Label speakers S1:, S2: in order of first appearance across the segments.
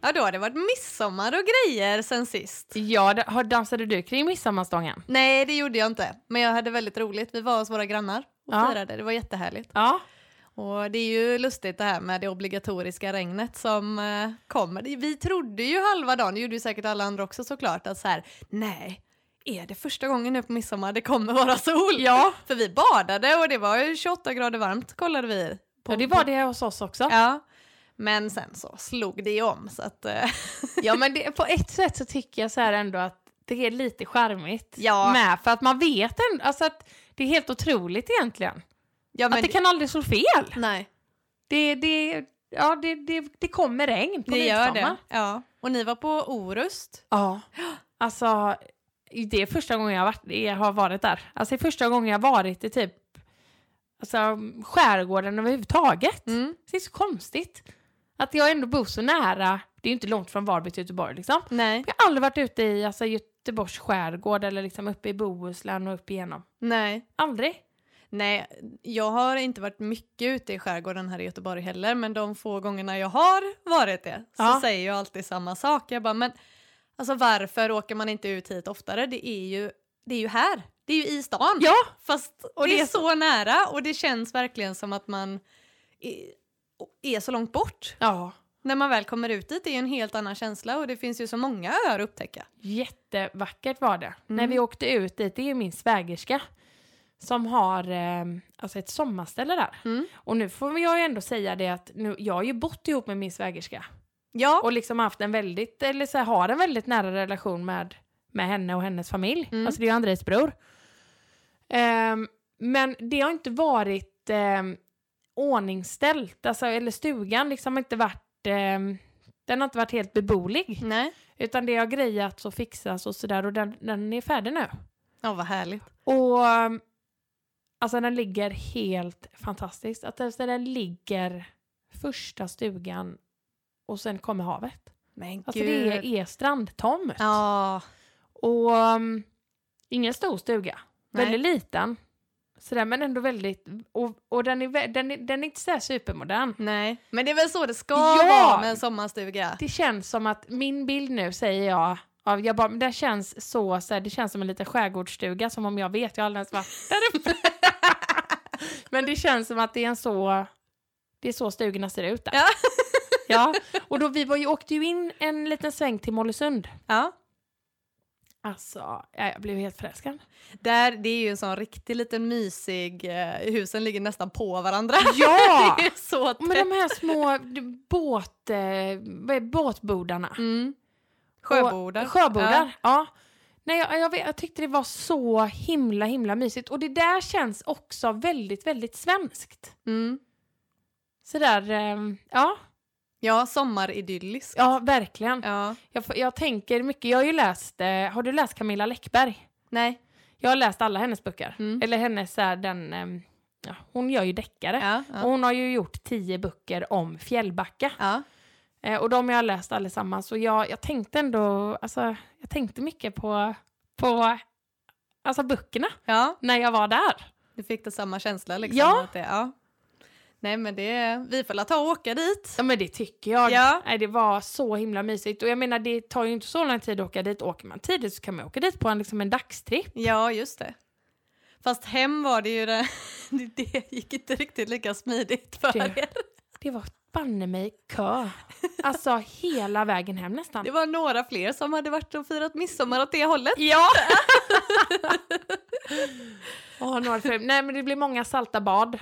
S1: Vadå, det har varit midsommar och grejer sen sist.
S2: Ja, da- har- dansade du kring midsommarstången?
S1: Nej, det gjorde jag inte. Men jag hade väldigt roligt. Vi var hos våra grannar och
S2: Ja.
S1: firade. Det var jättehärligt.
S2: Ja.
S1: Och det är ju lustigt det här med det obligatoriska regnet som eh, kommer. Vi trodde ju halva dagen, det gjorde ju säkert alla andra också såklart, att så här, nej, är det första gången nu på midsommar det kommer vara sol?
S2: Ja.
S1: För vi badade och det var ju 28 grader varmt kollade vi.
S2: ja, det var det hos oss också.
S1: Ja. Men sen så slog det om så att... eh,
S2: Ja, men det, på ett sätt så tycker jag så här ändå att det är lite charmigt
S1: Ja.
S2: med, för att man vet ändå, alltså att det är helt otroligt egentligen.
S1: ja, men
S2: att det kan aldrig slå fel.
S1: Nej,
S2: Det, det, ja, det, det, det kommer regn på
S1: det gör
S2: midsommar.
S1: det. Ja. Och ni var på Orust.
S2: Ja. Alltså, det är första gången jag har varit, jag har varit där. Alltså, det är första gången jag har varit i typ alltså, skärgården överhuvudtaget.
S1: Mm.
S2: Det är så konstigt. Att jag ändå bor så nära, det är ju inte långt från Varberg till Göteborg liksom.
S1: Nej.
S2: Jag har aldrig varit ute i alltså, Göteborgs skärgård eller liksom uppe i Bohuslän och upp igenom.
S1: Nej.
S2: Aldrig.
S1: Nej, jag har inte varit mycket ute i skärgården här i Göteborg heller, men de få gångerna jag har varit det så
S2: Ja.
S1: säger jag alltid samma sak. Jag bara, men alltså varför åker man inte ut hit oftare? Det är ju, det är ju här, det är ju i stan.
S2: Ja,
S1: Fast
S2: Och
S1: det
S2: det
S1: är
S2: är
S1: så, nära och det känns verkligen som att man är, är så långt bort.
S2: ja.
S1: När man väl kommer ut dit är ju en helt annan känsla och det finns ju så många öar att upptäcka.
S2: Jättevackert var det. När vi åkte ut dit, det är ju min svägerska som har eh, alltså ett sommarställe där.
S1: Mm.
S2: Och nu får jag ju ändå säga det att nu, jag har ju bott ihop med min svägerska
S1: Ja.
S2: och liksom haft en väldigt, eller så här, har en väldigt nära relation med, med henne och hennes familj.
S1: Mm.
S2: Alltså det är ju Andres bror. Ehm, men det har inte varit um, ordningställt, alltså, eller stugan liksom har inte varit, ehm, den har inte varit helt beboelig.
S1: Nej.
S2: Utan det har grejats och fixats och sådär och den, den är färdig nu.
S1: Ja, vad härligt.
S2: Och um, alltså den ligger helt fantastiskt. Att alltså, den ligger första stugan och sen kommer havet.
S1: Men
S2: Alltså det är strandtomt.
S1: Ja.
S2: Och um, ingen stor stuga.
S1: Nej.
S2: Väldigt liten. Sådär men ändå väldigt, och, och den, är, vä- den, är, den är inte sådär supermodern.
S1: Nej. Men det är väl så det ska
S2: Ja!
S1: vara med en sommarstuga?
S2: Det känns som att min bild nu säger jag, ja, jag bara, men det känns så, så här, det känns som en liten skärgårdsstuga som om jag vet, jag har aldrig ens varit där uppe. men det känns som att det är en så, det är så stugorna ser ut där.
S1: Ja.
S2: ja. Och då vi var ju, åkte ju in en liten sväng till Mollösund.
S1: Ja.
S2: Alltså, ja, jag blev helt förälskad.
S1: Där, det är ju en sån riktig liten mysig... eh, husen ligger nästan på varandra.
S2: Ja!
S1: det är så tätt.
S2: Men de här små d- båt, eh, vad är, båtbordarna.
S1: Mm. Sjöbodar.
S2: Och, sjöbordar, ja. Nej, jag, jag, vet- jag tyckte det var så himla himla mysigt. Och det där känns också väldigt, väldigt svenskt.
S1: Ja. Mm.
S2: Sådär, eh, ja,
S1: ja, sommaridylliskt.
S2: ja verkligen.
S1: Ja.
S2: Jag, får- jag tänker mycket, jag har ju läst, eh, har du läst Camilla Läckberg?
S1: Nej.
S2: Jag har läst alla hennes böcker.
S1: Mm.
S2: Eller hennes, så här, den, eh, ja, hon gör ju deckare.
S1: Ja. Ja.
S2: Och hon har ju gjort tio böcker om Fjällbacka.
S1: ja.
S2: Eh, och de jag har läst allesammans. Och jag, jag tänkte ändå, alltså, jag tänkte mycket på, på alltså böckerna
S1: ja.
S2: när jag var där.
S1: Du fick det samma känsla liksom?
S2: Ja.
S1: Att det, ja. Nej men det, vi får la ta och åka dit.
S2: Ja men det tycker jag.
S1: Ja.
S2: Nej, det var så himla mysigt. Och jag menar det tar ju inte så lång tid att åka dit. Åker man tidigt så kan man åka dit på en, liksom en dagstripp.
S1: Ja, just det. Fast hem var det ju det, det gick inte riktigt lika smidigt för
S2: Det-
S1: er.
S2: Det var banne mig kö. Alltså hela vägen hem nästan.
S1: Det var några fler som hade varit och firat midsommar åt det hållet.
S2: Ja! Åh, några för... Nej men det blev många salta bad.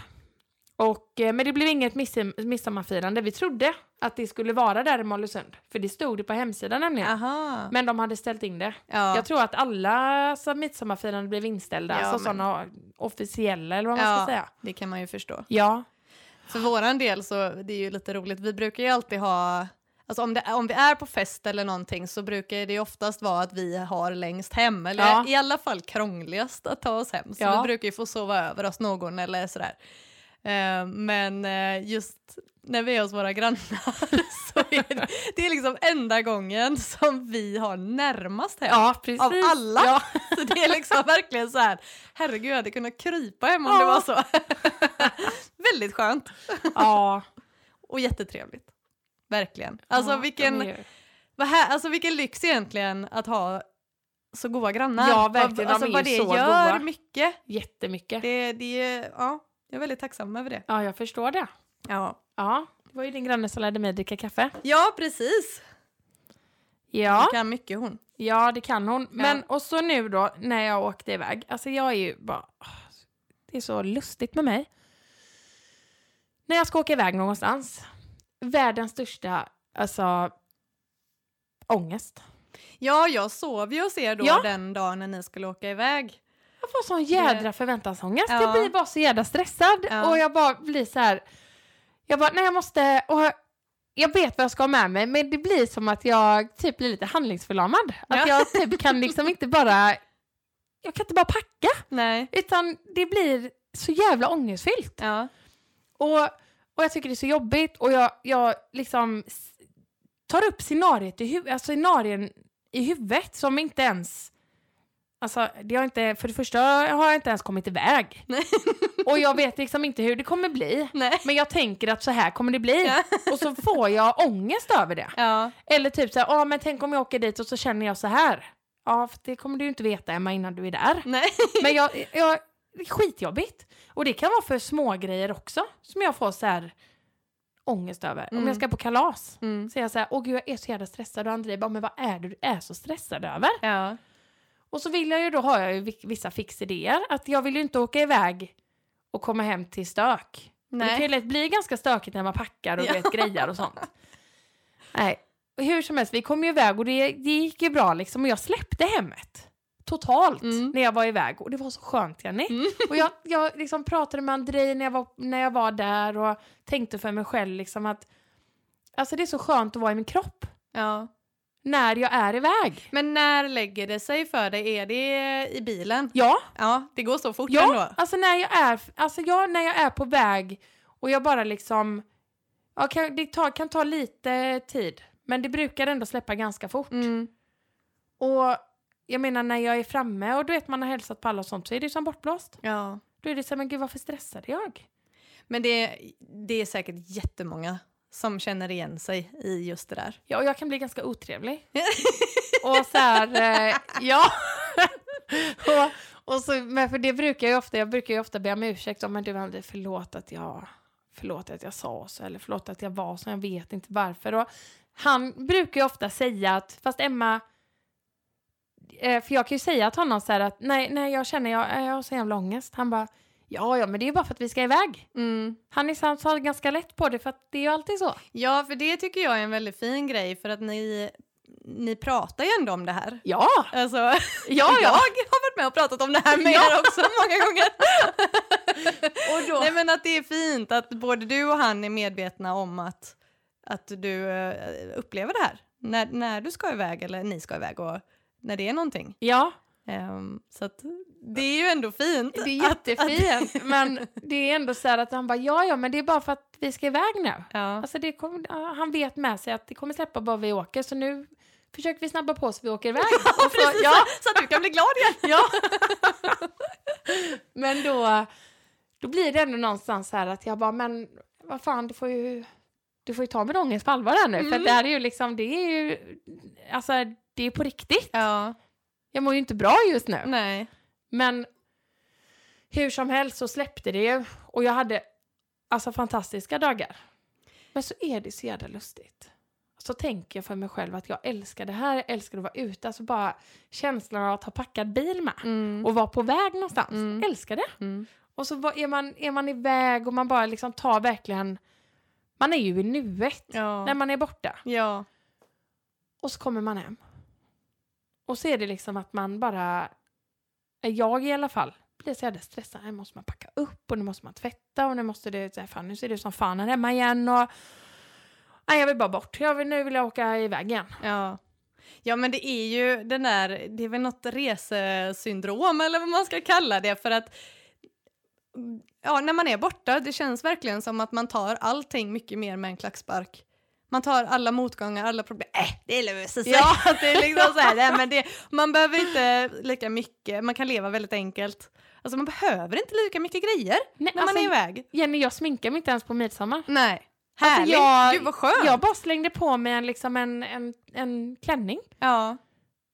S2: Och, eh, men det blev inget midsom- midsommarfirande. Vi trodde att det skulle vara där i Mollösund. För det stod det på hemsidan nämligen.
S1: Aha.
S2: Men de hade ställt in det.
S1: Ja.
S2: Jag tror att alla alltså, midsommarfirande blev inställda.
S1: Ja,
S2: alltså
S1: men-
S2: sådana officiella eller vad man
S1: ja,
S2: ska säga.
S1: det kan man ju förstå.
S2: Ja.
S1: För våran del så, det är ju lite roligt, vi brukar ju alltid ha, alltså om, det, om vi är på fest eller någonting så brukar det ju oftast vara att vi har längst hem, eller
S2: Ja.
S1: i alla fall krångligast att ta oss hem. Så
S2: Ja.
S1: vi brukar ju få sova över hos någon eller sådär. Eh, Men eh, just när vi är hos våra grannar så är det, det är liksom enda gången som vi har närmast hem.
S2: ja, precis.
S1: Av alla.
S2: Ja.
S1: Så det är liksom verkligen så här, herregud jag hade kunnat krypa hem om
S2: Ja.
S1: det var så. Väldigt skönt
S2: ja.
S1: och jättetrevligt. Verkligen. Alltså
S2: Ja, de
S1: vilken,
S2: är ju-
S1: Vad här, alltså vilken lyx egentligen att ha så goda grannar.
S2: Ja, verkligen,
S1: Vad-
S2: de
S1: Alltså
S2: är
S1: vad det
S2: ju så
S1: gör
S2: goda.
S1: mycket.
S2: Jättemycket.
S1: Det, det, ja, jag är väldigt tacksam över det.
S2: Ja, jag förstår det.
S1: Ja,
S2: Ja, det var ju din granne som lärde mig dricka kaffe.
S1: ja precis.
S2: Ja,
S1: Hon kan mycket hon.
S2: ja det kan hon. Men och så nu då när jag åkte iväg. Alltså jag är ju bara... åh, Det är så lustigt med mig. När jag ska åka iväg någonstans. Världens största, alltså... Ångest.
S1: Ja, jag sov ju hos er då
S2: Ja.
S1: den dagen när ni skulle åka iväg.
S2: Jag får sån jädra förväntansångest.
S1: Ja.
S2: Jag blir bara så jädra stressad.
S1: Ja.
S2: Och jag bara blir så här... Jag bara, nej jag måste... Och jag- jag vet vad jag ska ha med mig men det blir som att jag typ blir lite handlingsförlamad.
S1: Ja.
S2: Att jag typ kan liksom inte bara... Jag kan inte bara packa.
S1: Nej.
S2: Utan det blir så jävla ångestfyllt.
S1: Ja.
S2: Och, och jag tycker det är så jobbigt och jag, jag liksom s- tar upp scenariet i, hu- alltså scenarien i huvudet som inte ens... Alltså, det har inte, för det första har jag inte ens kommit iväg.
S1: Nej.
S2: Och jag vet liksom inte hur det kommer bli.
S1: Nej.
S2: Men jag tänker att så här kommer det bli.
S1: Ja.
S2: Och så får jag ångest över det.
S1: Ja.
S2: Eller typ så här, ah, men tänk om jag åker dit och så känner jag så här. Ja, för det kommer du ju inte veta Emma innan du är där.
S1: Nej.
S2: Men jag, jag, det är skitjobbigt. Och det kan vara för små grejer också som jag får så här ångest över. Om
S1: Mm.
S2: jag ska på kalas
S1: Mm.
S2: så är jag så här, åh gud jag är så jävla stressad och André bara, men vad är det du är så stressad över?
S1: Ja.
S2: Och så vill jag ju då, har jag ju vi- vissa fixidéer, att jag vill ju inte åka iväg och komma hem till stök. Och Det kan ju
S1: Nej.
S2: lätt bli ganska stökigt när man packar och
S1: Ja.
S2: ja. vet, grejer och sånt. Nej, och hur som helst, vi kom ju iväg och det, det gick ju bra liksom. Och jag släppte hemmet totalt
S1: Mm.
S2: när jag var iväg. Och det var så skönt, Jenny.
S1: Mm.
S2: Och jag, jag liksom pratade med Andrei när jag, var, när jag var där och tänkte för mig själv liksom att alltså det är så skönt att vara i min kropp
S1: Ja.
S2: när jag är iväg.
S1: Men när lägger det sig för dig? Är det i bilen?
S2: Ja,
S1: Ja, det går så fort
S2: Ja,
S1: ändå.
S2: alltså när jag är, alltså jag, när jag är på väg och jag bara liksom... Ja, kan, det ta, kan ta lite tid, men det brukar ändå släppa ganska fort.
S1: Mm.
S2: Och jag menar när jag är framme och du vet man har hälsat på alla och sånt så är det ju som bortblåst.
S1: Ja.
S2: Då är det så här, men gud varför stressade jag?
S1: Men det, det är säkert jättemånga som känner igen sig i just det där.
S2: Ja, och jag kan bli ganska otrevlig. och så här, eh, ja. och, och så, men för det brukar jag ju ofta, jag brukar ju ofta be om ursäkt om, men du Andy, förlåt att jag, förlåt att jag sa så, eller förlåt att jag var så, jag vet inte varför. Och han brukar ju ofta säga att, fast Emma, eh, för jag kan ju säga till honom så här att, nej, nej, jag känner, jag, jag har så jävla ångest. Han bara, ja, ja, men det är ju bara för att vi ska iväg.
S1: Mm.
S2: Han är så han tar ganska lätt på det, för att det är ju alltid så.
S1: Ja, för det tycker jag är en väldigt fin grej för att ni, ni pratar ju ändå om det här.
S2: Ja,
S1: Alltså,
S2: ja,
S1: Jag har varit med och pratat om det här med
S2: Ja.
S1: er också många gånger.
S2: Och då,
S1: Nej men att det är fint att både du och han är medvetna om att, att du eh, upplever det här. När, när du ska iväg eller ni ska iväg och när det är någonting.
S2: ja.
S1: Ehm, så att det är ju ändå fint.
S2: Det är
S1: att-
S2: jättefint, men det är ändå så här att han bara ja, ja, men det är bara för att vi ska iväg nu.
S1: Ja.
S2: Alltså det kom, ja, han vet med sig att det kommer släppa bara vi åker, så nu försöker vi snabba på så vi åker iväg. Och så,
S1: Precis,
S2: ja,
S1: Så att du kan bli glad igen.
S2: ja. men då, då blir det ändå någonstans så här att jag bara, men vad fan, du får ju, du får ju ta min ångest på allvar här nu, för
S1: Mm.
S2: att det här är ju liksom, det är ju, alltså det är på riktigt.
S1: Ja,
S2: Jag mår ju inte bra just nu.
S1: nej.
S2: Men hur som helst så släppte det ju och jag hade alltså fantastiska dagar. Men så är det så jävla lustigt. Så tänker jag för mig själv att jag älskar det här, jag älskar att vara ute. Alltså bara känslan av att ha packat bil med
S1: Mm.
S2: och vara på väg någonstans.
S1: Mm.
S2: Älskar det.
S1: Mm.
S2: Och så var- är man, är man iväg och man bara liksom tar verkligen, man är ju i nuet
S1: Ja.
S2: när man är borta.
S1: ja.
S2: Och så kommer man hem. Och så är det liksom att man bara, eh, jag i alla fall, blir så jävla stressad. Nu måste man packa upp och nu måste man tvätta och nu måste det, så här, fan, nu ser det ut som fan här hemma igen och nej jag vill bara bort, jag vill, nu vill jag åka iväg igen.
S1: Ja. Ja men det är ju den där, det är väl något resesyndrom eller vad man ska kalla det för att ja, när man är borta det känns verkligen som att man tar allting mycket mer med en klackspark. Man tar alla motgångar, alla problem, äh, det löser sig.
S2: Ja.
S1: Att det är liksom så här, nej, men det, man behöver inte lika mycket, man kan leva väldigt enkelt. Alltså man behöver inte lika mycket grejer
S2: Nej,
S1: när
S2: alltså,
S1: man är iväg.
S2: Jenny jag sminkar mig inte ens på midsommar.
S1: Nej. Alltså, Härligt!
S2: jag-
S1: Gud vad skönt!
S2: Jag bara slängde på mig en, liksom en, en, en klänning.
S1: ja.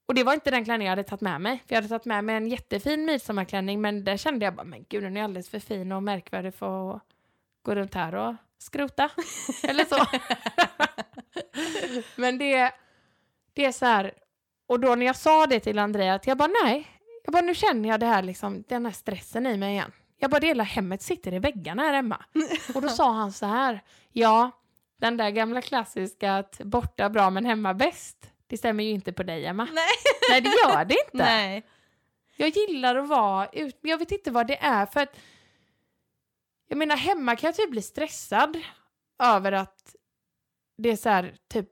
S2: Och det var inte den klänning jag hade tagit med mig. För jag hade tagit med mig en jättefin midsommarklänning men där kände jag bara, men gud den är alldeles för fin och märkvärdig för att gå runt här och skrota. Eller så. men det, det är så här, och då när jag sa det till Andrea, att jag bara nej, jag bara nu känner jag det här liksom, den här stressen i mig igen. Jag bara, det hela hemmet sitter i väggarna här hemma. Och då sa han så här, ja, den där gamla klassiska att borta bra men hemma bäst. Det stämmer ju inte på dig Emma.
S1: Nej.
S2: Nej det gör det inte.
S1: Nej.
S2: Jag gillar att vara ut, men jag vet inte vad det är för att jag menar hemma kan jag typ bli stressad över att det är så här typ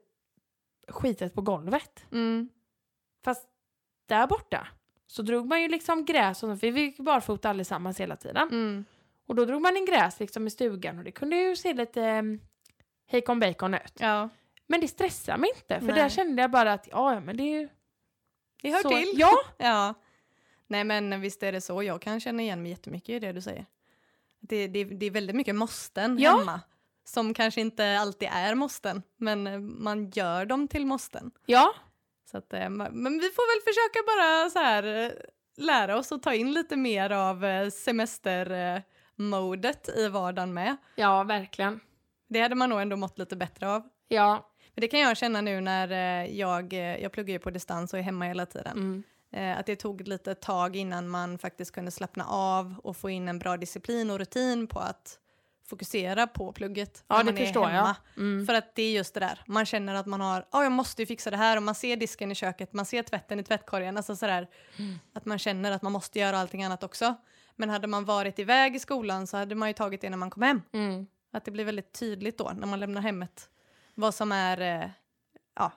S2: skitet på golvet.
S1: Mm.
S2: Fast där borta så drog man ju liksom gräs och så, för vi gick ju barfota allesammans hela tiden.
S1: Mm.
S2: Och då drog man in gräs liksom i stugan och det kunde ju se lite um, hejkon bacon ut.
S1: Ja.
S2: Men det stressar mig inte för
S1: Nej.
S2: där kände jag bara att ja ja, men det är ju
S1: Det hör
S2: så-
S1: till.
S2: Ja,
S1: Ja. Nej men visst är det så, jag kan känna igen mig jättemycket i det du säger. Det, det, det är väldigt mycket måsten
S2: Ja.
S1: hemma. Som kanske inte alltid är måsten, men eh, man gör dem till måsten.
S2: ja.
S1: Så att, eh, ma- men vi får väl försöka bara så här, eh, lära oss att ta in lite mer av eh, semestermodet i vardagen med.
S2: Ja, verkligen.
S1: Det hade man nog ändå mått lite bättre av.
S2: Ja.
S1: Men det kan jag känna nu när eh, jag, eh, jag pluggar ju på distans och är hemma hela tiden.
S2: Mm.
S1: Eh, Att det tog lite tag innan man faktiskt kunde slappna av och få in en bra disciplin och rutin på att fokusera på plugget
S2: Ja,
S1: när
S2: det
S1: man är
S2: förstår
S1: hemma.
S2: jag. Mm.
S1: För att det är just det där, man känner att man har, ja jag måste ju fixa det här och man ser disken i köket, man ser tvätten i tvättkorgen, alltså sådär
S2: Mm.
S1: att man känner att man måste göra allting annat också. Men hade man varit iväg i skolan så hade man ju tagit det när man kom hem.
S2: Mm.
S1: Att det blir väldigt tydligt då när man lämnar hemmet vad som är eh, ja,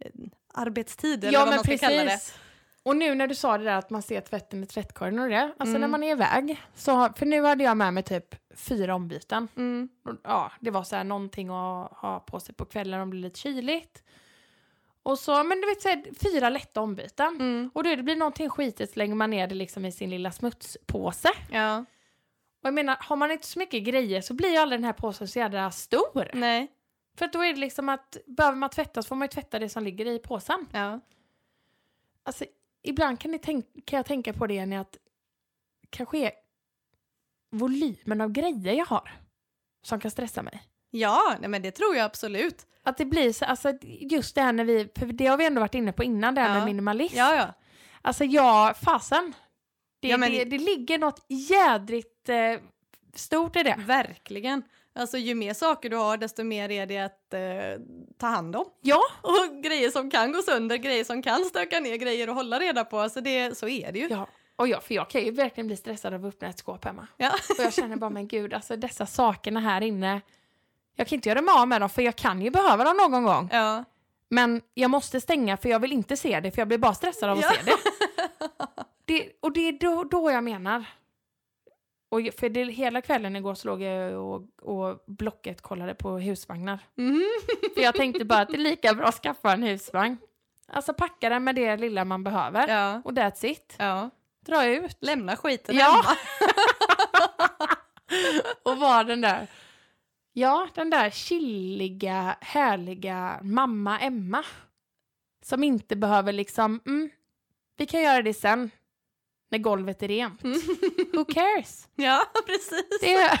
S1: eh, arbetstid eller
S2: Ja,
S1: vad
S2: men
S1: man ska kalla det.
S2: precis. Och nu när du sa det där att man ser tvätten i tvättkorgen och det, alltså
S1: Mm.
S2: när man är iväg, så, har- för nu hade jag med mig typ fyra ombyten.
S1: Mm.
S2: Och, Ja, det var så här någonting att ha på sig på kvällen om det blir lite kyligt. Och så, men du vet så här, fyra lätta ombyten.
S1: Mm.
S2: Och då det blir någonting skitigt slänger man ner det liksom i sin lilla smutspåse.
S1: Ja,
S2: Och jag menar, har man inte så mycket grejer så blir ju aldrig den här påsen så jävla stor.
S1: nej,
S2: För att då är det liksom att behöver man tvätta så får man ju tvätta det som ligger i påsen.
S1: ja.
S2: Alltså, ibland kan, ni tänk- kan jag tänka på det Jenny, att kanske är volymen av grejer jag har som kan stressa mig.
S1: Ja, nej, men det tror jag absolut.
S2: Att det blir så, alltså just det här när vi, för det har vi ändå varit inne på innan, det här
S1: Ja.
S2: med minimalism.
S1: Ja, ja.
S2: Alltså jag, fasen. Det,
S1: Ja, men-
S2: det, det ligger något jädrigt eh, stort i det.
S1: Verkligen. Alltså ju mer saker du har desto mer är det att eh, ta hand om.
S2: Ja,
S1: Och grejer som kan gå sönder, grejer som kan stöka ner, grejer att hålla reda på. Alltså det, så är det ju.
S2: ja. Och jag, för jag kan ju verkligen bli stressad av att öppna ett skåp hemma.
S1: Ja.
S2: Och jag känner bara, men gud, alltså dessa sakerna här inne. Jag kan inte göra mig av med dem, för jag kan ju behöva dem någon gång.
S1: Ja.
S2: Men jag måste stänga för jag vill inte se det för jag blir bara stressad av att
S1: Ja.
S2: se det. det. Och det är då, då jag menar. Och jag- för det, hela kvällen igår så låg jag och, och Blocket kollade på husvagnar.
S1: Mhm.
S2: För jag tänkte bara att det är lika bra att skaffa en husvagn. Alltså packa den med det lilla man behöver.
S1: ja.
S2: Och that's it.
S1: Ja.
S2: Dra ut.
S1: Lämna skiten
S2: Ja.
S1: hemma.
S2: Och var den där. Ja, den där chilliga, härliga mamma Emma. Som inte behöver liksom, mm, vi kan göra det sen. När golvet är rent.
S1: Mm.
S2: Who cares?
S1: Ja, precis.
S2: Det...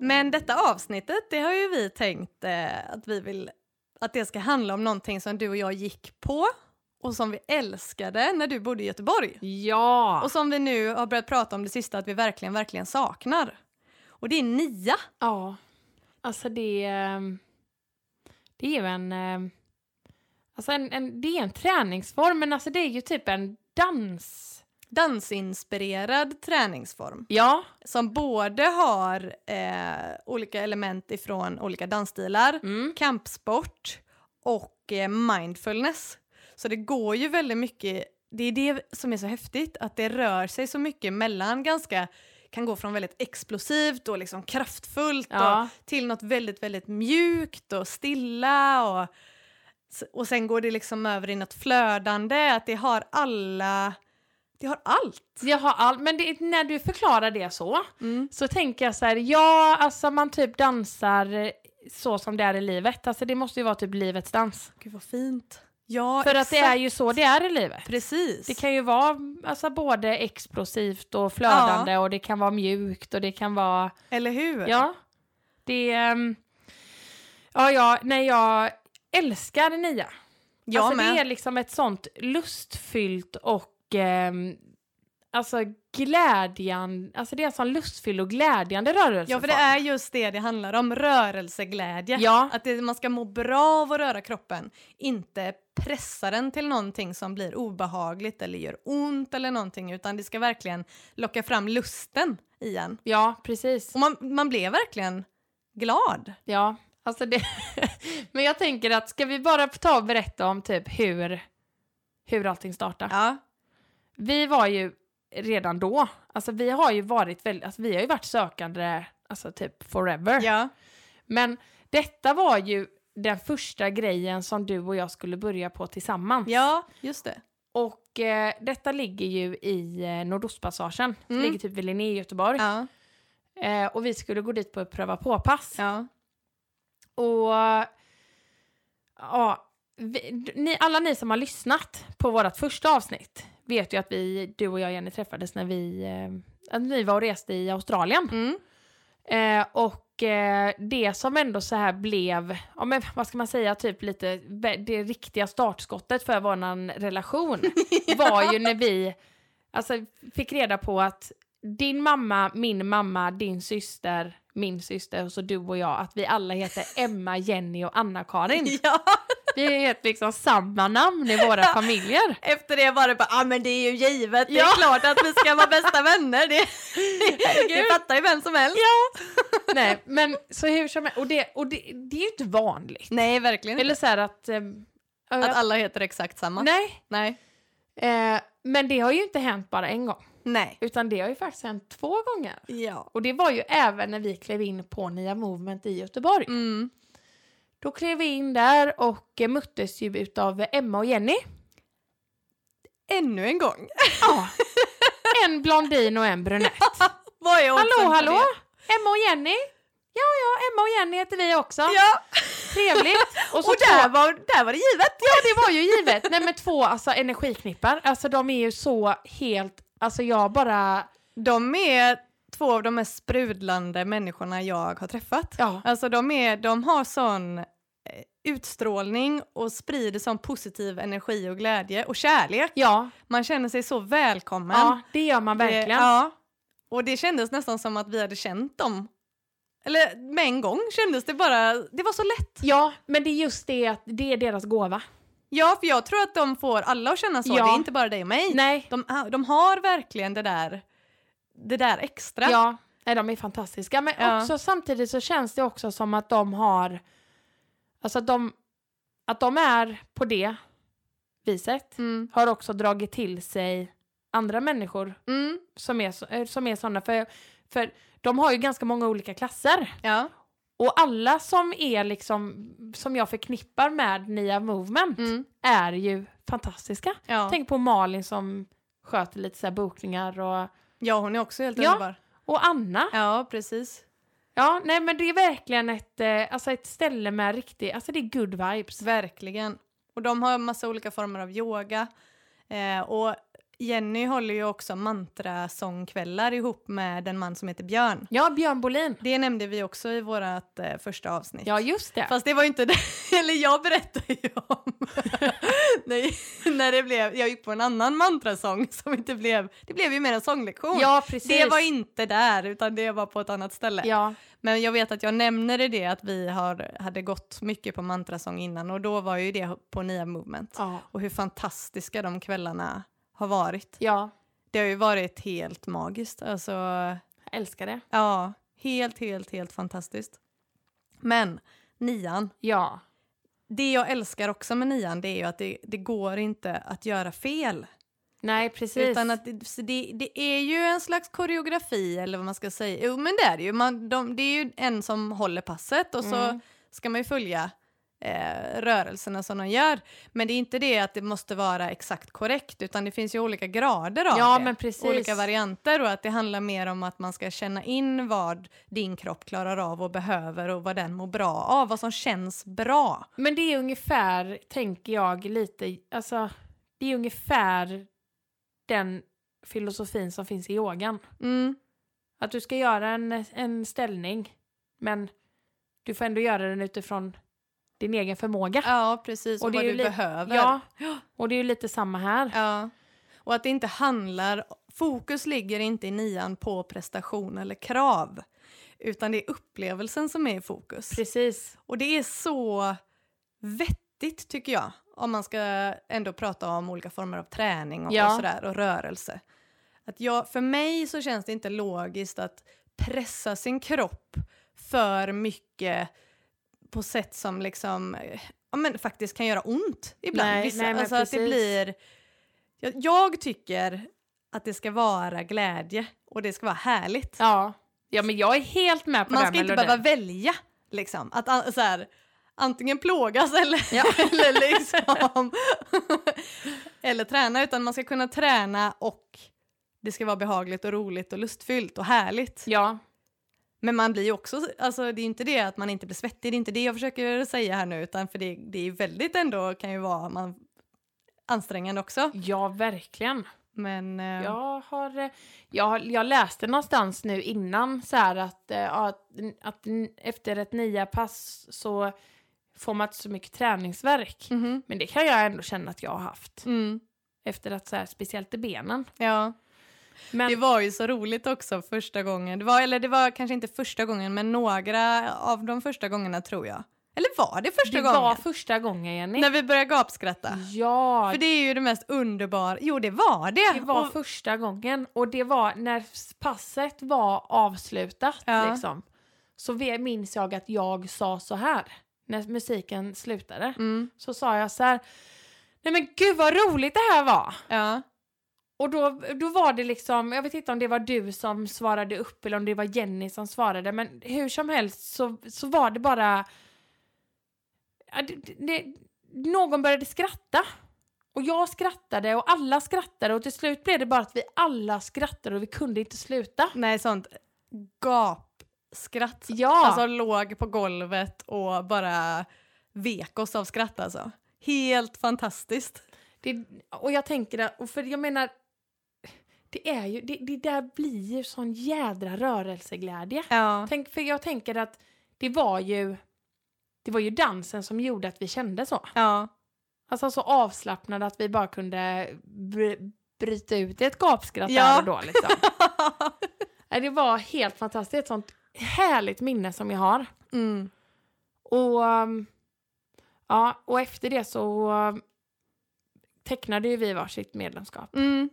S1: Men detta avsnittet, det har ju vi tänkt eh, att vi vill att det ska handla om någonting som du och jag gick på och som vi älskade när du bodde i Göteborg.
S2: Ja!
S1: Och som vi nu har börjat prata om det sista att vi verkligen, verkligen saknar. Och det är Nia.
S2: Ja. Alltså det... ehm, Det är ju en... ehm, Alltså en, en, det är en träningsform, men alltså det är ju typ en dans.
S1: Dansinspirerad träningsform
S2: Ja.
S1: som både har eh, olika element ifrån olika dansstilar,
S2: Mm.
S1: kampsport och eh, mindfulness. Så det går ju väldigt mycket, det är det som är så häftigt, att det rör sig så mycket mellan ganska, kan gå från väldigt explosivt och liksom kraftfullt och
S2: Ja.
S1: till något väldigt, väldigt mjukt och stilla. Och, och sen går det liksom över i något flödande, att det har alla... Jag har allt.
S2: Jag har allt, men det, när du förklarar det så, så tänker jag så här, ja alltså man typ dansar så som det är i livet. Alltså det måste ju vara typ livets dans.
S1: Gud vad fint. Ja,
S2: För att
S1: exakt.
S2: det är ju så det är i livet.
S1: Precis.
S2: Det kan ju vara alltså, både explosivt och flödande och det kan vara mjukt och det kan vara...
S1: Eller hur?
S2: Ja. Det... ehm, ja, ja, nej jag älskar Nia.
S1: Jag
S2: alltså
S1: med.
S2: det är liksom ett sånt lustfyllt och ehm, alltså glädjan, alltså det är en sån lustfylld och glädjande rörelse.
S1: Ja, för det är just det det handlar om, rörelseglädje.
S2: Alltså, Ja.
S1: Att det, man ska må bra av att röra kroppen, inte pressa den till någonting som blir obehagligt eller gör ont eller någonting, utan det ska verkligen locka fram lusten i en.
S2: Ja, precis.
S1: Och man, man blev verkligen glad.
S2: Ja, alltså det... Men jag tänker att ska vi bara ta och berätta om typ hur, hur allting startar?
S1: Ja,
S2: vi var ju redan då, alltså vi har ju varit väldigt, alltså vi har ju varit sökande alltså typ forever.
S1: ja.
S2: Men detta var ju den första grejen som du och jag skulle börja på tillsammans.
S1: ja just det.
S2: Och eh, detta ligger ju i eh, Nordostpassagen,
S1: Mm.
S2: ligger typ vid Linné i Göteborg.
S1: Ja,
S2: Eh, och vi skulle gå dit på ett pröva på-pass.
S1: ja.
S2: Och ja, vi, ni, alla ni som har lyssnat på vårt första avsnitt vet ju att vi, du och jag Jenny träffades när vi, eh, att vi var och reste i Australien.
S1: Mm.
S2: Eh, och eh, det som ändå så här blev, ja, men, vad ska man säga, typ lite vä- det riktiga startskottet för våran relation var ju när vi alltså, fick reda på att din mamma, min mamma, din syster, min syster och så du och jag, att vi alla heter Emma, Jenny och Anna-Karin.
S1: ja.
S2: Vi heter liksom samma namn i våra familjer.
S1: Efter det var det bara, ja ah, men det är ju givet, det är
S2: Ja.
S1: klart att vi ska vara bästa vänner. Det, det fattar ju vem som helst.
S2: Nej, men så hur som helst, och, det, och det, det är ju inte vanligt.
S1: Nej, verkligen
S2: Eller så här att... Eh,
S1: Att alla heter exakt samma.
S2: nej,
S1: Nej.
S2: Eh, men det har ju inte hänt bara en gång,
S1: Nej.
S2: utan det har ju faktiskt hänt två gånger.
S1: Ja.
S2: Och det var ju även när vi klev in på Nia Movement i Göteborg.
S1: Mm.
S2: Då klev vi in där och eh, möttes ju utav Emma och Jenny.
S1: Ännu en gång.
S2: Ja. en blondin och en brunett.
S1: Vad är oddsen
S2: Hallå,
S1: på
S2: hallå!
S1: det?
S2: Emma och Jenny! Ja, ja, Emma och Jenny heter vi också.
S1: Ja.
S2: Trevligt!
S1: Och,
S2: så
S1: där,
S2: två-
S1: var, där var det givet.
S2: Ja, det var ju givet. Nej men två alltså, energiknippar, alltså de är ju så helt, alltså jag bara,
S1: De är två av de mest sprudlande människorna jag har träffat.
S2: ja.
S1: Alltså de, är, de har sån eh, utstrålning och sprider sån positiv energi och glädje och kärlek.
S2: Ja,
S1: Man känner sig så välkommen.
S2: ja, det gör man verkligen.
S1: Det, ja. Och det kändes nästan som att vi hade känt dem. Eller med en gång kändes det bara, det var så lätt.
S2: Ja, men det är just det att det är deras gåva.
S1: Ja, för jag tror att de får alla att känna så.
S2: Ja.
S1: Det är inte bara dig och mig.
S2: Nej.
S1: De, ah, de har verkligen det där, det där extra.
S2: Ja, nej, de är fantastiska. Men
S1: Ja.
S2: också samtidigt så känns det också som att de har, alltså att de, att de är på det viset,
S1: Mm.
S2: har också dragit till sig andra människor
S1: Mm.
S2: som är, så- eh, som är sådana. För, för de har ju ganska många olika klasser.
S1: Ja.
S2: Och alla som är liksom, som jag förknippar med Nia Movement
S1: Mm.
S2: är ju fantastiska.
S1: Ja.
S2: Tänk på Malin som sköter lite så här bokningar och,
S1: ja, hon är också helt
S2: Ja.
S1: underbar.
S2: och Anna.
S1: Ja, precis.
S2: Ja, nej men det är verkligen ett, eh, alltså ett ställe med riktig, alltså det är good vibes.
S1: Verkligen. Och de har massa olika former av yoga. Eh, och Jenny håller ju också mantrasångkvällar ihop med en man som heter Björn.
S2: Ja, Björn Bolin.
S1: Det nämnde vi också i vårt eh, första avsnitt.
S2: Ja, just det.
S1: Fast det var ju inte det, eller jag berättade ju om Nej, när det blev, jag gick på en annan mantrasång som inte blev, det blev ju mer en sånglektion.
S2: ja, precis.
S1: det var inte där utan det var på ett annat ställe.
S2: Ja,
S1: Men jag vet att jag nämner i det att vi har, hade gått mycket på mantrasång innan och då var ju det på Nia Movement.
S2: ja,
S1: Och hur fantastiska de kvällarna har varit.
S2: ja.
S1: Det har ju varit helt magiskt. Alltså,
S2: Jag älskar det.
S1: Ja, helt, helt, helt fantastiskt. Men nian,
S2: Ja,
S1: det jag älskar också med nian det är ju att det, det går inte att göra fel.
S2: nej precis.
S1: Utan att det, så det, det är ju en slags koreografi eller vad man ska säga. Jo men det är det ju, man, de, det är ju en som håller passet och så
S2: Mm.
S1: ska man ju följa eh, rörelserna som de gör. Men det är inte det att det måste vara exakt korrekt utan det finns ju olika grader av
S2: Ja,
S1: det.
S2: men precis.
S1: Olika varianter och att det handlar mer om att man ska känna in vad din kropp klarar av och behöver och vad den mår bra av, vad som känns bra.
S2: Men det är ungefär, tänker jag, lite, alltså det är ungefär den filosofin som finns i yogan.
S1: Mm.
S2: Att du ska göra en, en ställning, men du får ändå göra den utifrån din egen förmåga.
S1: Ja, precis. Och,
S2: Och det
S1: Alltså, vad
S2: är ju
S1: du
S2: li-
S1: behöver.
S2: Ja, och det är ju lite samma här.
S1: Ja. Och att det inte handlar... Fokus ligger inte i nian på prestation eller krav utan det är upplevelsen som är i fokus.
S2: Precis.
S1: Och det är så vettigt, tycker jag om man ska ändå prata om olika former av träning och,
S2: Ja.
S1: och, sådär, och rörelse. Att jag, för mig så känns det inte logiskt att pressa sin kropp för mycket på sätt som liksom, eh, ja, men faktiskt kan göra ont ibland.
S2: Nej, nej, men
S1: alltså att det
S2: precis.
S1: blir, jag, jag tycker att det ska vara glädje och det ska vara härligt.
S2: Ja. ja, men jag är helt med på
S1: Man
S2: den
S1: ska inte
S2: melodin.
S1: behöva välja. Liksom. Att an- så här, antingen plågas eller, eller, liksom, eller träna. Utan man ska kunna träna och det ska vara behagligt och roligt och lustfyllt och härligt.
S2: Ja,
S1: Men man blir ju också, alltså, det är ju inte det att man inte blir svettig, det är inte det jag försöker säga här nu. Utan för det, det är ju väldigt ändå, kan ju vara man, ansträngande också.
S2: ja verkligen.
S1: Men eh,
S2: Jag, har, eh, jag, har- jag läste någonstans nu innan så här att, eh, ja, att, att n- efter ett nia pass så får man inte så mycket träningsverk.
S1: mhm,
S2: Men det kan jag ändå känna att jag har haft.
S1: mm,
S2: Efter att så här, speciellt i benen.
S1: ja.
S2: Men
S1: Det var ju så roligt också första gången. Det var, eller det var kanske inte första gången, men några av de första gångerna tror jag. Eller var det första
S2: det
S1: gången?
S2: var första gången Jenny.
S1: När vi började gapskratta.
S2: Ja,
S1: För det är ju det mest underbara. Jo, det var det!
S2: det var
S1: Och,
S2: första gången. Och det var när passet var avslutat
S1: Ja.
S2: liksom. Så vi- minns jag att jag sa så här. När musiken slutade.
S1: mm,
S2: så sa jag så här. Nej men gud vad roligt det här var!
S1: ja.
S2: Och då, då var det liksom, jag vet inte om det var du som svarade upp eller om det var Jenny som svarade men hur som helst så, så var det bara... Ja, det, det, någon började skratta. Och jag skrattade och alla skrattade och till slut blev det bara att vi alla skrattade och vi kunde inte sluta.
S1: Nej, sånt gapskratt.
S2: Ja!
S1: Alltså låg på golvet och bara vek oss av skratt alltså. Helt fantastiskt.
S2: Det, och jag tänker, att- och för jag menar, det är ju, det, det där blir ju sån jädra rörelseglädje.
S1: Ja.
S2: Tänk, för jag tänker att det var ju, det var ju dansen som gjorde att vi kände så.
S1: Ja.
S2: Alltså så avslappnade att vi bara kunde br- bryta ut i ett gapskratt
S1: Ja.
S2: där och då liksom. Nej, det var helt fantastiskt, Det är ett sånt härligt minne som jag har.
S1: Mm.
S2: Och, um, ja, och efter det så um, tecknade ju vi varsitt medlemskap.
S1: Mm.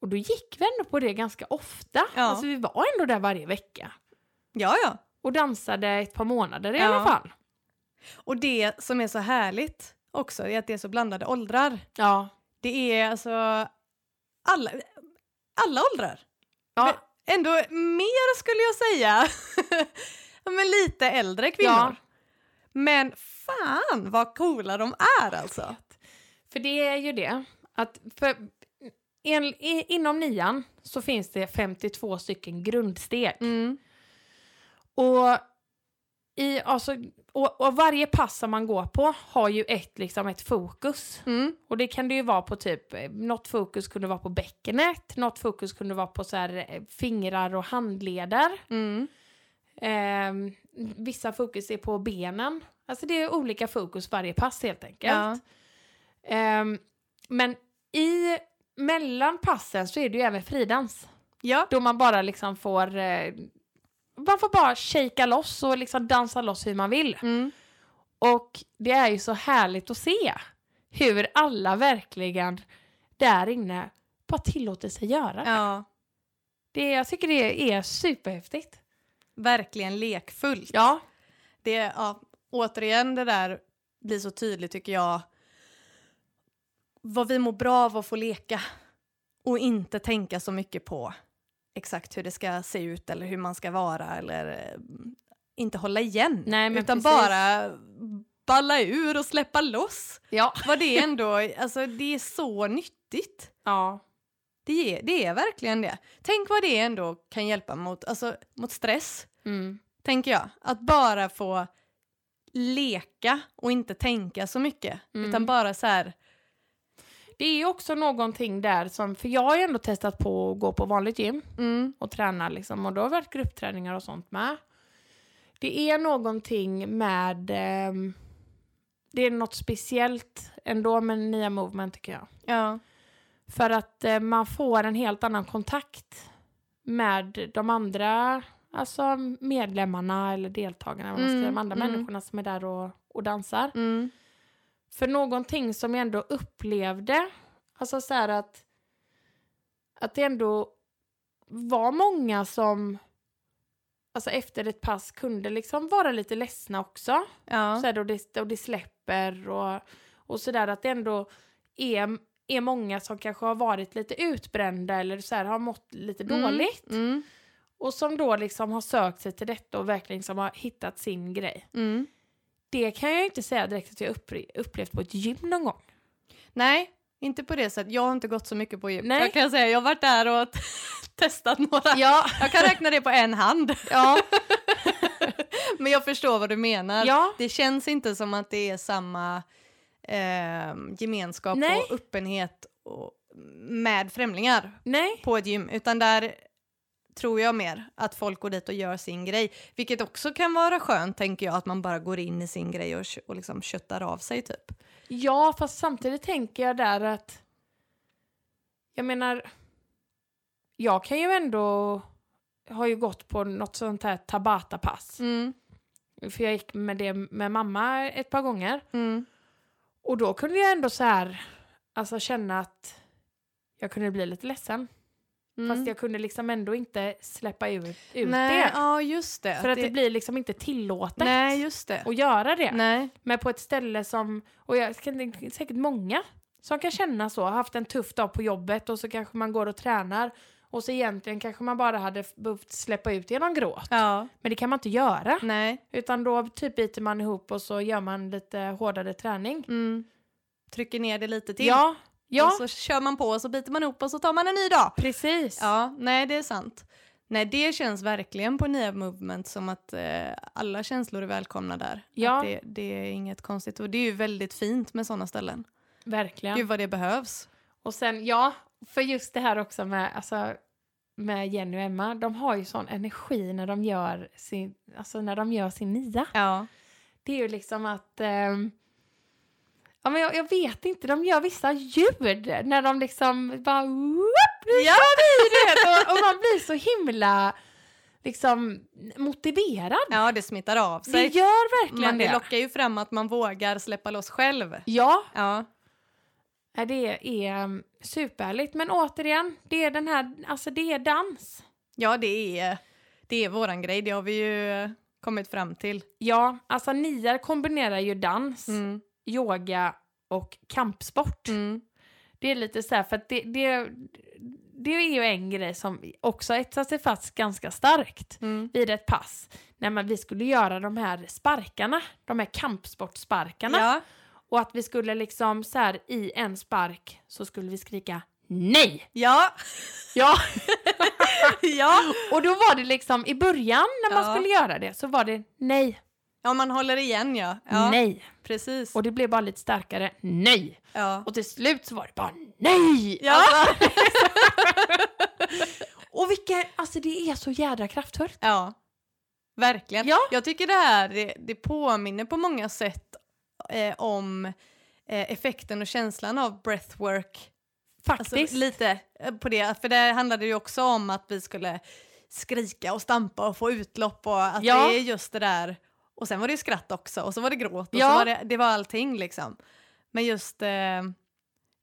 S2: Och då gick vi ändå på det ganska ofta.
S1: Ja.
S2: Alltså vi var ändå där varje vecka.
S1: Ja, ja.
S2: Och dansade ett par månader i
S1: Ja.
S2: alla fall.
S1: Och det som är så härligt också är att det är så blandade åldrar.
S2: Ja.
S1: Det är alltså alla, alla åldrar.
S2: Ja,
S1: Ändå mer skulle jag säga. Ja, Men lite äldre kvinnor.
S2: Ja.
S1: Men fan vad coola de är alltså.
S2: för det är ju det. Att för, en, i, inom nian så finns det 52 stycken grundsteg.
S1: Mm.
S2: Och, i, alltså, och, och varje pass som man går på har ju ett, liksom, ett fokus.
S1: Mm.
S2: Och det kan det ju vara på typ, eh, något fokus kunde vara på bäckenet, något fokus kunde vara på så här, eh, fingrar och handleder.
S1: Mm.
S2: Ehm, vissa fokus är på benen. Alltså det är olika fokus varje pass helt enkelt.
S1: Ja.
S2: Ehm, men i mellan passen så är det ju även fridans.
S1: Ja.
S2: Då man bara liksom får, eh, man får bara shakea loss och liksom dansa loss hur man vill.
S1: Mm.
S2: Och det är ju så härligt att se hur alla verkligen där inne bara tillåter sig göra.
S1: ja.
S2: Det, jag tycker det är superhäftigt.
S1: Verkligen lekfullt.
S2: Ja,
S1: det, ja, återigen det där blir så tydligt tycker jag. Vad vi mår bra av att få leka och inte tänka så mycket på exakt hur det ska se ut eller hur man ska vara eller eh, inte hålla igen.
S2: Nej, men
S1: utan
S2: precis.
S1: bara balla ur och släppa loss.
S2: Ja.
S1: Vad det ändå, alltså det är så nyttigt.
S2: ja.
S1: Det är, det är verkligen det. Tänk vad det ändå kan hjälpa mot, alltså, mot stress,
S2: Mm.
S1: tänker jag. Att bara få leka och inte tänka så mycket.
S2: Mm.
S1: Utan bara så här,
S2: Det är också någonting där som, för jag har ju ändå testat på att gå på vanligt gym
S1: mm,
S2: och träna liksom och då har det varit gruppträningar och sånt med. Det är någonting med, ehm, det är något speciellt ändå med nya movement tycker jag.
S1: ja.
S2: För att eh, man får en helt annan kontakt med de andra alltså medlemmarna eller deltagarna, vad man ska
S1: Mm,
S2: säga, de andra
S1: mm.
S2: människorna som är där och, och dansar.
S1: Mm,
S2: För någonting som jag ändå upplevde, alltså så här att, att det ändå var många som alltså efter ett pass kunde liksom vara lite ledsna också.
S1: ja.
S2: Så här, och, det, och det släpper och, och sådär att det ändå är, är många som kanske har varit lite utbrända eller så här, har mått lite
S1: Mm,
S2: dåligt.
S1: Mm,
S2: Och som då liksom har sökt sig till detta och verkligen liksom har hittat sin grej.
S1: mm.
S2: Det kan jag inte säga direkt att jag uppre- upplevt på ett gym någon gång.
S1: Nej, inte på det sättet. Jag har inte gått så mycket på gym.
S2: Nej.
S1: Jag kan säga, jag har varit där och testat några.
S2: Ja,
S1: Jag kan räkna det på en hand.
S2: ja,
S1: Men jag förstår vad du menar.
S2: ja.
S1: Det känns inte som att det är samma ehm, gemenskap
S2: Nej.
S1: och öppenhet och, med främlingar
S2: Nej.
S1: på ett gym, utan där tror jag mer att folk går dit och gör sin grej, vilket också kan vara skönt tänker jag, att man bara går in i sin grej och, kö- och liksom köttar av sig typ.
S2: Ja, fast samtidigt tänker jag där att... Jag menar... Jag kan ju ändå... Har ju gått på något sånt här Tabata-pass.
S1: Mm,
S2: För jag gick med det med mamma ett par gånger.
S1: mm,
S2: Och då kunde jag ändå så här... Alltså känna att... Jag kunde bli lite ledsen.
S1: mm.
S2: Fast jag kunde liksom ändå inte släppa ut, ut
S1: Nej,
S2: det.
S1: Ja, just det.
S2: För att det, blir liksom inte tillåtet
S1: Nej, just det.
S2: att göra det.
S1: Nej.
S2: Men på ett ställe som, och jag ska inte- säkert många som kan känna så, har haft en tuff dag på jobbet och så kanske man går och tränar och så egentligen kanske man bara hade f- behövt släppa ut genom gråt.
S1: Ja,
S2: Men det kan man inte göra.
S1: nej.
S2: Utan då typ biter man ihop och så gör man lite hårdare träning.
S1: Mm. Trycker ner det lite till. alltså-
S2: Ja, ja
S1: Och så kör man på och så biter man ihop och så tar man en ny dag.
S2: precis.
S1: Ja, nej det är sant. Nej det känns verkligen på Nya Movement som att eh, alla känslor är välkomna där.
S2: Ja.
S1: Att det, det är inget konstigt och det är ju väldigt fint med sådana ställen.
S2: Verkligen.
S1: Gud vad det behövs.
S2: Och sen, ja, för just det här också med, alltså, med Jenny och Emma, de har ju sån energi när de gör sin, alltså när de gör sin nia.
S1: Ja.
S2: Det är ju liksom att... ehm, ja, men jag, jag vet inte, de gör vissa ljud när de liksom bara... Whoop, nu
S1: Ja.
S2: kör vi, du vet, och, och man blir så himla liksom motiverad.
S1: ja, det smittar av
S2: Det
S1: sig.
S2: gör verkligen
S1: Men det
S2: det.
S1: lockar ju fram att man vågar släppa loss själv.
S2: Ja,
S1: Ja,
S2: ja, det är um, superhärligt. Men återigen, det är den här, alltså det är dans.
S1: ja det, är, det är våran grej, det har vi ju eh, kommit fram till.
S2: Ja, alltså niar kombinerar ju dans,
S1: Mm.
S2: yoga och kampsport.
S1: Mm.
S2: Det är lite så här, för att det, det, det är ju en grej som också etsar sig fast ganska starkt
S1: Mm.
S2: vid ett pass. När man, vi skulle göra de här sparkarna, de här kampsportsparkarna.
S1: Ja.
S2: Och att vi skulle liksom så här i en spark så skulle vi skrika nej!
S1: Ja.
S2: Ja,
S1: ja.
S2: och då var det liksom i början när man
S1: Ja.
S2: skulle göra det så var det nej,
S1: Ja, man håller igen ja. ja.
S2: nej.
S1: Precis.
S2: Och det blev bara lite starkare, nej!
S1: Ja.
S2: Och till slut så var det bara nej!
S1: Ja.
S2: Alltså, och vilka, alltså det är så jädra kraftfullt.
S1: Ja, verkligen.
S2: Ja.
S1: Jag tycker det här det, det påminner på många sätt eh, om eh, effekten och känslan av breathwork. Alltså,
S2: Faktiskt.
S1: lite eh, på det, för det handlade ju också om att vi skulle skrika och stampa och få utlopp och att
S2: Ja.
S1: det är just det där. Och sen var det ju skratt också och så var det gråt och
S2: Ja.
S1: så var det, det var allting liksom. Men just, eh,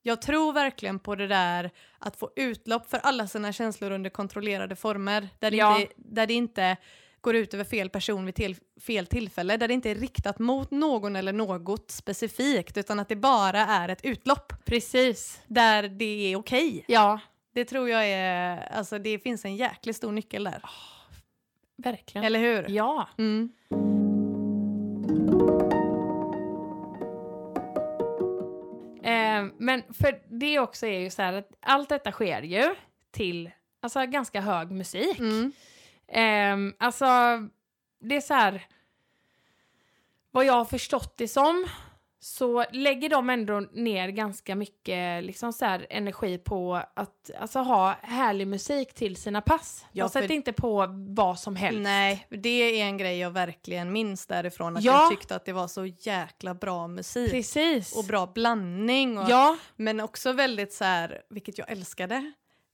S1: jag tror verkligen på det där att få utlopp för alla sina känslor under kontrollerade former. Där det,
S2: Ja.
S1: inte, där det inte går ut över fel person vid till, fel tillfälle. Där det inte är riktat mot någon eller något specifikt utan att det bara är ett utlopp
S2: Precis.
S1: där det är okej.
S2: Ja,
S1: Det tror jag är, alltså det finns en jäkligt stor nyckel där. Mm,
S2: verkligen.
S1: Eller hur?
S2: Ja.
S1: Mm.
S2: Eh, men för det också är ju så här att allt detta sker ju till alltså, ganska hög musik.
S1: Mm.
S2: Ehm, alltså, det är så här... Vad jag har förstått det som så lägger de ändå ner ganska mycket liksom så här, energi på att alltså, ha härlig musik till sina pass.
S1: Ja,
S2: de
S1: för-
S2: sätter inte på vad som helst.
S1: Nej, det är en grej jag verkligen minns därifrån. Att
S2: Ja.
S1: jag tyckte att det var så jäkla bra musik.
S2: Precis.
S1: Och bra blandning. Och,
S2: Ja,
S1: Men också väldigt så här, vilket jag älskade,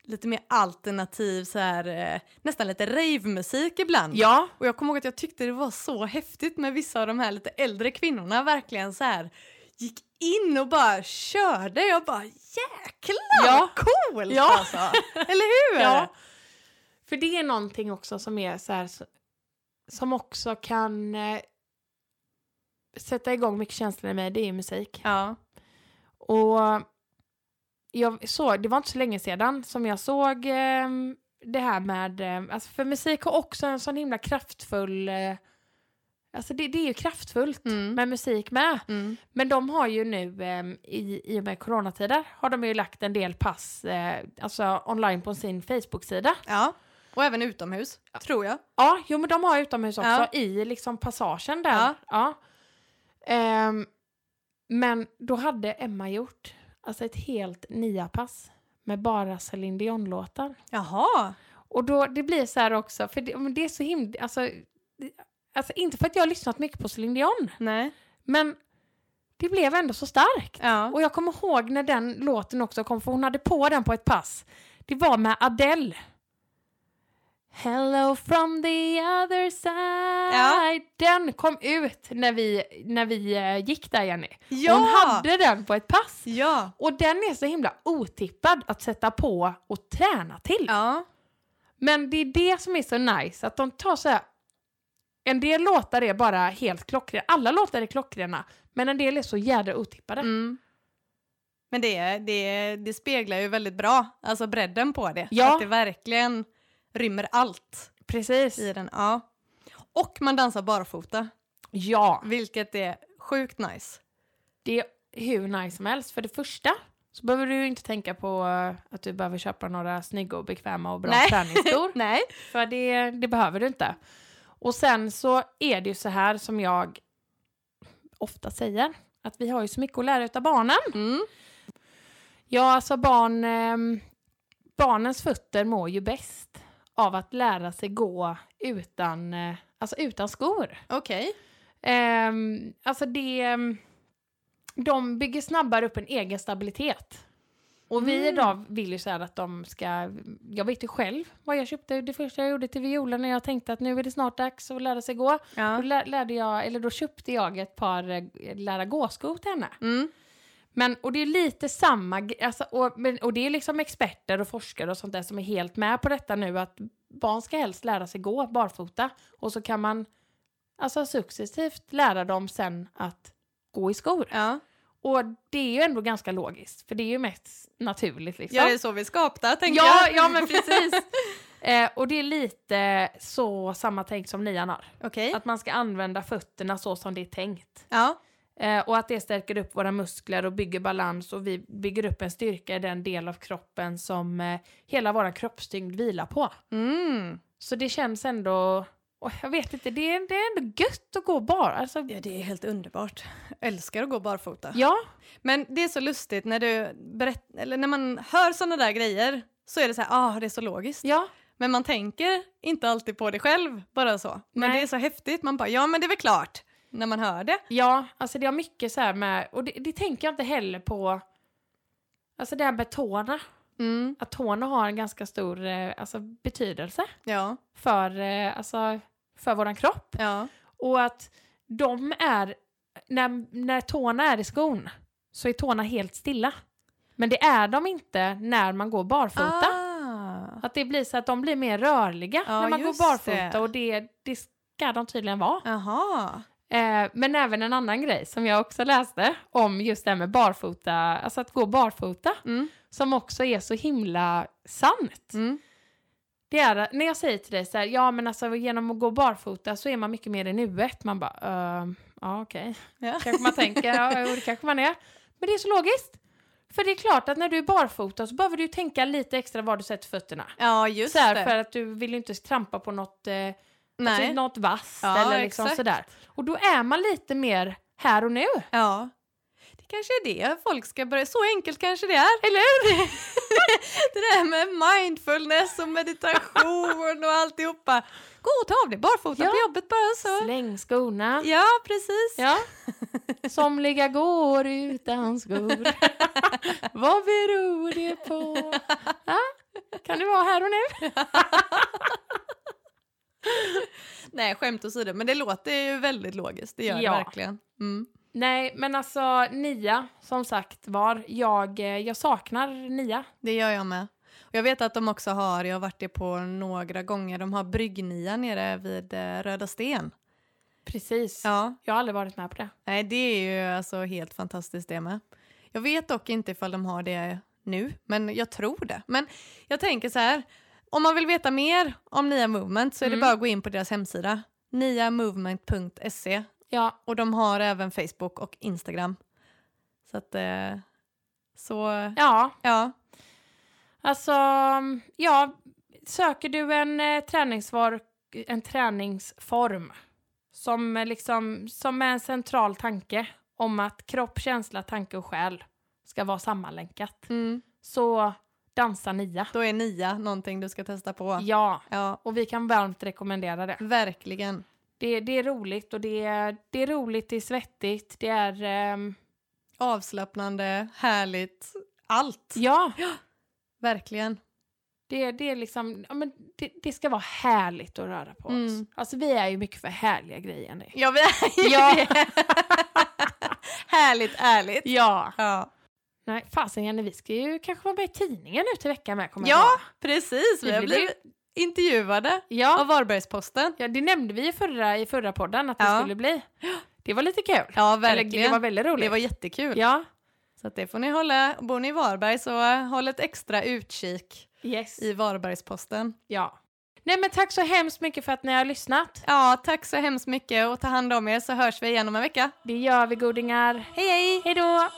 S1: lite mer alternativ, så här, eh, nästan lite rave-musik ibland.
S2: ja,
S1: Och jag kommer ihåg att jag tyckte det var så häftigt med vissa av de här lite äldre kvinnorna verkligen så här gick in och bara körde. Jag bara jäklar
S2: Ja.
S1: vad coolt
S2: Ja.
S1: alltså! Eller hur?
S2: ja. För det är någonting också som är så här så- som också kan eh, sätta igång mycket känslor i mig, det är ju musik.
S1: ja.
S2: Och jag såg, det var inte så länge sedan som jag såg ehm, det här med, ehm, alltså för musik har också en sån himla kraftfull, eh, alltså det, det är ju kraftfullt
S1: Mm.
S2: med musik med.
S1: Mm.
S2: Men de har ju nu ehm, i, i och med coronatider har de ju lagt en del pass eh, alltså online på sin Facebook-sida.
S1: ja. Och även utomhus, tror jag.
S2: Ja, jo men de har utomhus också
S1: Ja.
S2: i liksom passagen där.
S1: Ja.
S2: Ja. Ehm, men då hade Emma gjort alltså ett helt nia pass med bara Celine Dion-låtar.
S1: Jaha!
S2: Och då, det blir så här också, för det, men det är så himla, alltså, det- alltså inte för att jag har lyssnat mycket på Celine Dion,
S1: Nej.
S2: men det blev ändå så starkt.
S1: Ja.
S2: Och jag kommer ihåg när den låten också kom, för hon hade på den på ett pass. Det var med Adele. Hello from the other side. Den kom ut när vi, när vi eh, gick där, Jenny.
S1: Ja.
S2: Hon hade den på ett pass.
S1: Ja.
S2: Och den är så himla otippad att sätta på och träna till.
S1: Ja.
S2: Men det är det som är så nice, att de tar så här... En del låtar är bara helt klockrena. Alla låtar är klockrena, men en del är så jädra otippade.
S1: Mm. Men det, det, det speglar ju väldigt bra, alltså bredden på det.
S2: Ja.
S1: Att det verkligen rymmer allt
S2: Precis.
S1: i den. Ja. Och man dansar barfota,
S2: Ja.
S1: vilket är sjukt nice.
S2: Det är hur nice som helst. För det första så behöver du ju inte tänka på eh, att du behöver köpa några snygga och bekväma och bra
S1: Nej.
S2: träningsskor.
S1: Nej.
S2: För det, det behöver du inte. Och sen så är det ju så här som jag ofta säger. Att vi har ju så mycket att lära utav barnen.
S1: Mm.
S2: Ja, alltså barn, ehm, barnens fötter mår ju bäst av att lära sig gå utan, eh, alltså utan skor.
S1: Okej.
S2: Ehm, alltså det... ehm, De bygger snabbare upp en egen stabilitet. Och vi
S1: Mm.
S2: idag vill ju så här att de ska... Jag vet ju själv vad jag köpte. Det första jag gjorde till violen när jag tänkte att nu är det snart dags att lära sig gå. Då,
S1: Ja.
S2: lä- lärde jag, eller då köpte jag ett par eh, lära gå-skor till henne.
S1: Mm.
S2: Men, och det är lite samma, gre- alltså, och, men, och det är liksom experter och forskare och sånt där som är helt med på detta nu att barn ska helst lära sig gå barfota och så kan man alltså successivt lära dem sen att gå i skor.
S1: Ja.
S2: Och det är ju ändå ganska logiskt för det är ju mest naturligt liksom.
S1: ja, det är så vi är skapta tänker
S2: ja,
S1: jag.
S2: ja, men precis. eh, och det är lite så samma tänk som nian har.
S1: Okej.
S2: Att man ska använda fötterna så som det är tänkt.
S1: Ja.
S2: Eh, och att det stärker upp våra muskler och bygger balans och vi bygger upp en styrka i den del av kroppen som eh, hela vår kroppstyngd vilar på.
S1: Mm.
S2: Så det känns ändå, åh, jag vet inte, det är, det är ändå gött att gå bara. Alltså,
S1: ja, det är helt underbart. Jag älskar att gå barfota.
S2: ja,
S1: Men det är så lustigt när, du berätt, eller när man hör såna där grejer så är det så här, ah, det är så logiskt.
S2: ja,
S1: Men man tänker inte alltid på det själv, bara så. Men
S2: Nej.
S1: det är så häftigt, man bara ja men det är väl klart när man hör det.
S2: ja, alltså det har mycket så här med, och det, det tänker jag inte heller på, alltså det här med tårna,
S1: Mm,
S2: att tårna har en ganska stor eh, alltså, betydelse
S1: ja,
S2: för, eh, alltså, för våran kropp.
S1: ja,
S2: Och att de är, när, när tårna är i skon så är tårna helt stilla. Men det är de inte när man går barfota.
S1: Ah.
S2: Att det blir så att de blir mer rörliga
S1: Ja,
S2: när man går
S1: just
S2: barfota
S1: det.
S2: och det, det ska de tydligen vara.
S1: Jaha,
S2: Eh, men även en annan grej som jag också läste om just det här med barfota, alltså att gå barfota,
S1: mm,
S2: som också är så himla sant.
S1: mm,
S2: Det är när jag säger till dig så här, ja men alltså genom att gå barfota så är man mycket mer i nuet. Man bara, ehm, ja okej.
S1: ja.
S2: Kanske man tänker, ja jo, det kanske man är. Men det är så logiskt. För det är klart att när du är barfota så behöver du ju tänka lite extra var du sätter fötterna.
S1: Ja, just
S2: Så här,
S1: det.
S2: för att du vill ju inte trampa på något, eh, alltså,
S1: Nej.
S2: något vasst
S1: Ja,
S2: eller liksom
S1: exakt.
S2: sådär. Och då är man lite mer här och nu.
S1: Ja. Det kanske är det folk ska börja... Så enkelt kanske det är.
S2: Eller hur?
S1: Det där med mindfulness och meditation och alltihopa. Gå och ta av dig barfota
S2: Ja.
S1: på jobbet bara så.
S2: Släng skorna.
S1: Ja, precis.
S2: Ja. Somliga går utan skor. Vad beror det på? Ja? Kan du vara här och nu?
S1: Nej, skämt åsido, men det låter ju väldigt logiskt. Det gör
S2: Ja.
S1: det verkligen. Mm.
S2: Nej, men alltså Nia, som sagt var, jag, eh, jag saknar Nia.
S1: Det gör jag med. Och jag vet att de också har, jag har varit det på några gånger, de har Bryggnia nere vid eh, Röda Sten.
S2: Precis.
S1: Ja,
S2: Jag har aldrig varit med på det.
S1: nej det är ju alltså helt fantastiskt det med. Jag vet dock inte ifall de har det nu, men jag tror det. Men jag tänker så här, om man vill veta mer om Nia Movement så är
S2: Mm.
S1: det bara att gå in på deras hemsida, niamovement.se
S2: Ja,
S1: och de har även Facebook och Instagram. Så att, eh, så
S2: ja
S1: ja.
S2: alltså, ja, söker du en eh, träningsvar- en träningsform som, eh, liksom, som är en central tanke om att kropp, känsla, tanke och själ ska vara sammanlänkat,
S1: Mm.
S2: så dansa Nia.
S1: Då är nia någonting du ska testa på.
S2: Ja,
S1: Ja,
S2: och vi kan varmt rekommendera det.
S1: verkligen.
S2: Det, det är roligt och det är, det är roligt, det är svettigt, det är... ehm,
S1: Avslappnande, härligt, allt.
S2: ja,
S1: Verkligen.
S2: det, det är liksom... Ja, men det, det ska vara härligt att röra på oss.
S1: Mm.
S2: Alltså vi är ju mycket för härliga grejer nu.
S1: Ja, vi är ju
S2: Ja.
S1: det. härligt, ärligt.
S2: Ja.
S1: Ja,
S2: Nej, fasen Jenny, vi ska ju kanske vara med i tidningen nu till veckan med. kommer jag
S1: ja
S2: ihåg.
S1: precis. Vi
S2: Det
S1: har
S2: blir
S1: blivit intervjuade
S2: ja.
S1: av Varbergsposten.
S2: ja, det nämnde vi ju förra, i förra podden att det
S1: Ja.
S2: skulle bli. Det var lite kul.
S1: Ja,
S2: Eller, det var
S1: verkligen.
S2: väldigt
S1: Det
S2: roligt.
S1: var jättekul.
S2: Ja,
S1: Så att det får ni hålla. Bor ni i Varberg så eh, håll ett extra utkik
S2: yes.
S1: i Varbergsposten.
S2: Ja. Nej men tack så hemskt mycket för att ni har lyssnat.
S1: Ja, tack så hemskt mycket och ta hand om er så hörs vi igen om en vecka.
S2: Det gör vi godingar.
S1: Hej hej!
S2: Hej då!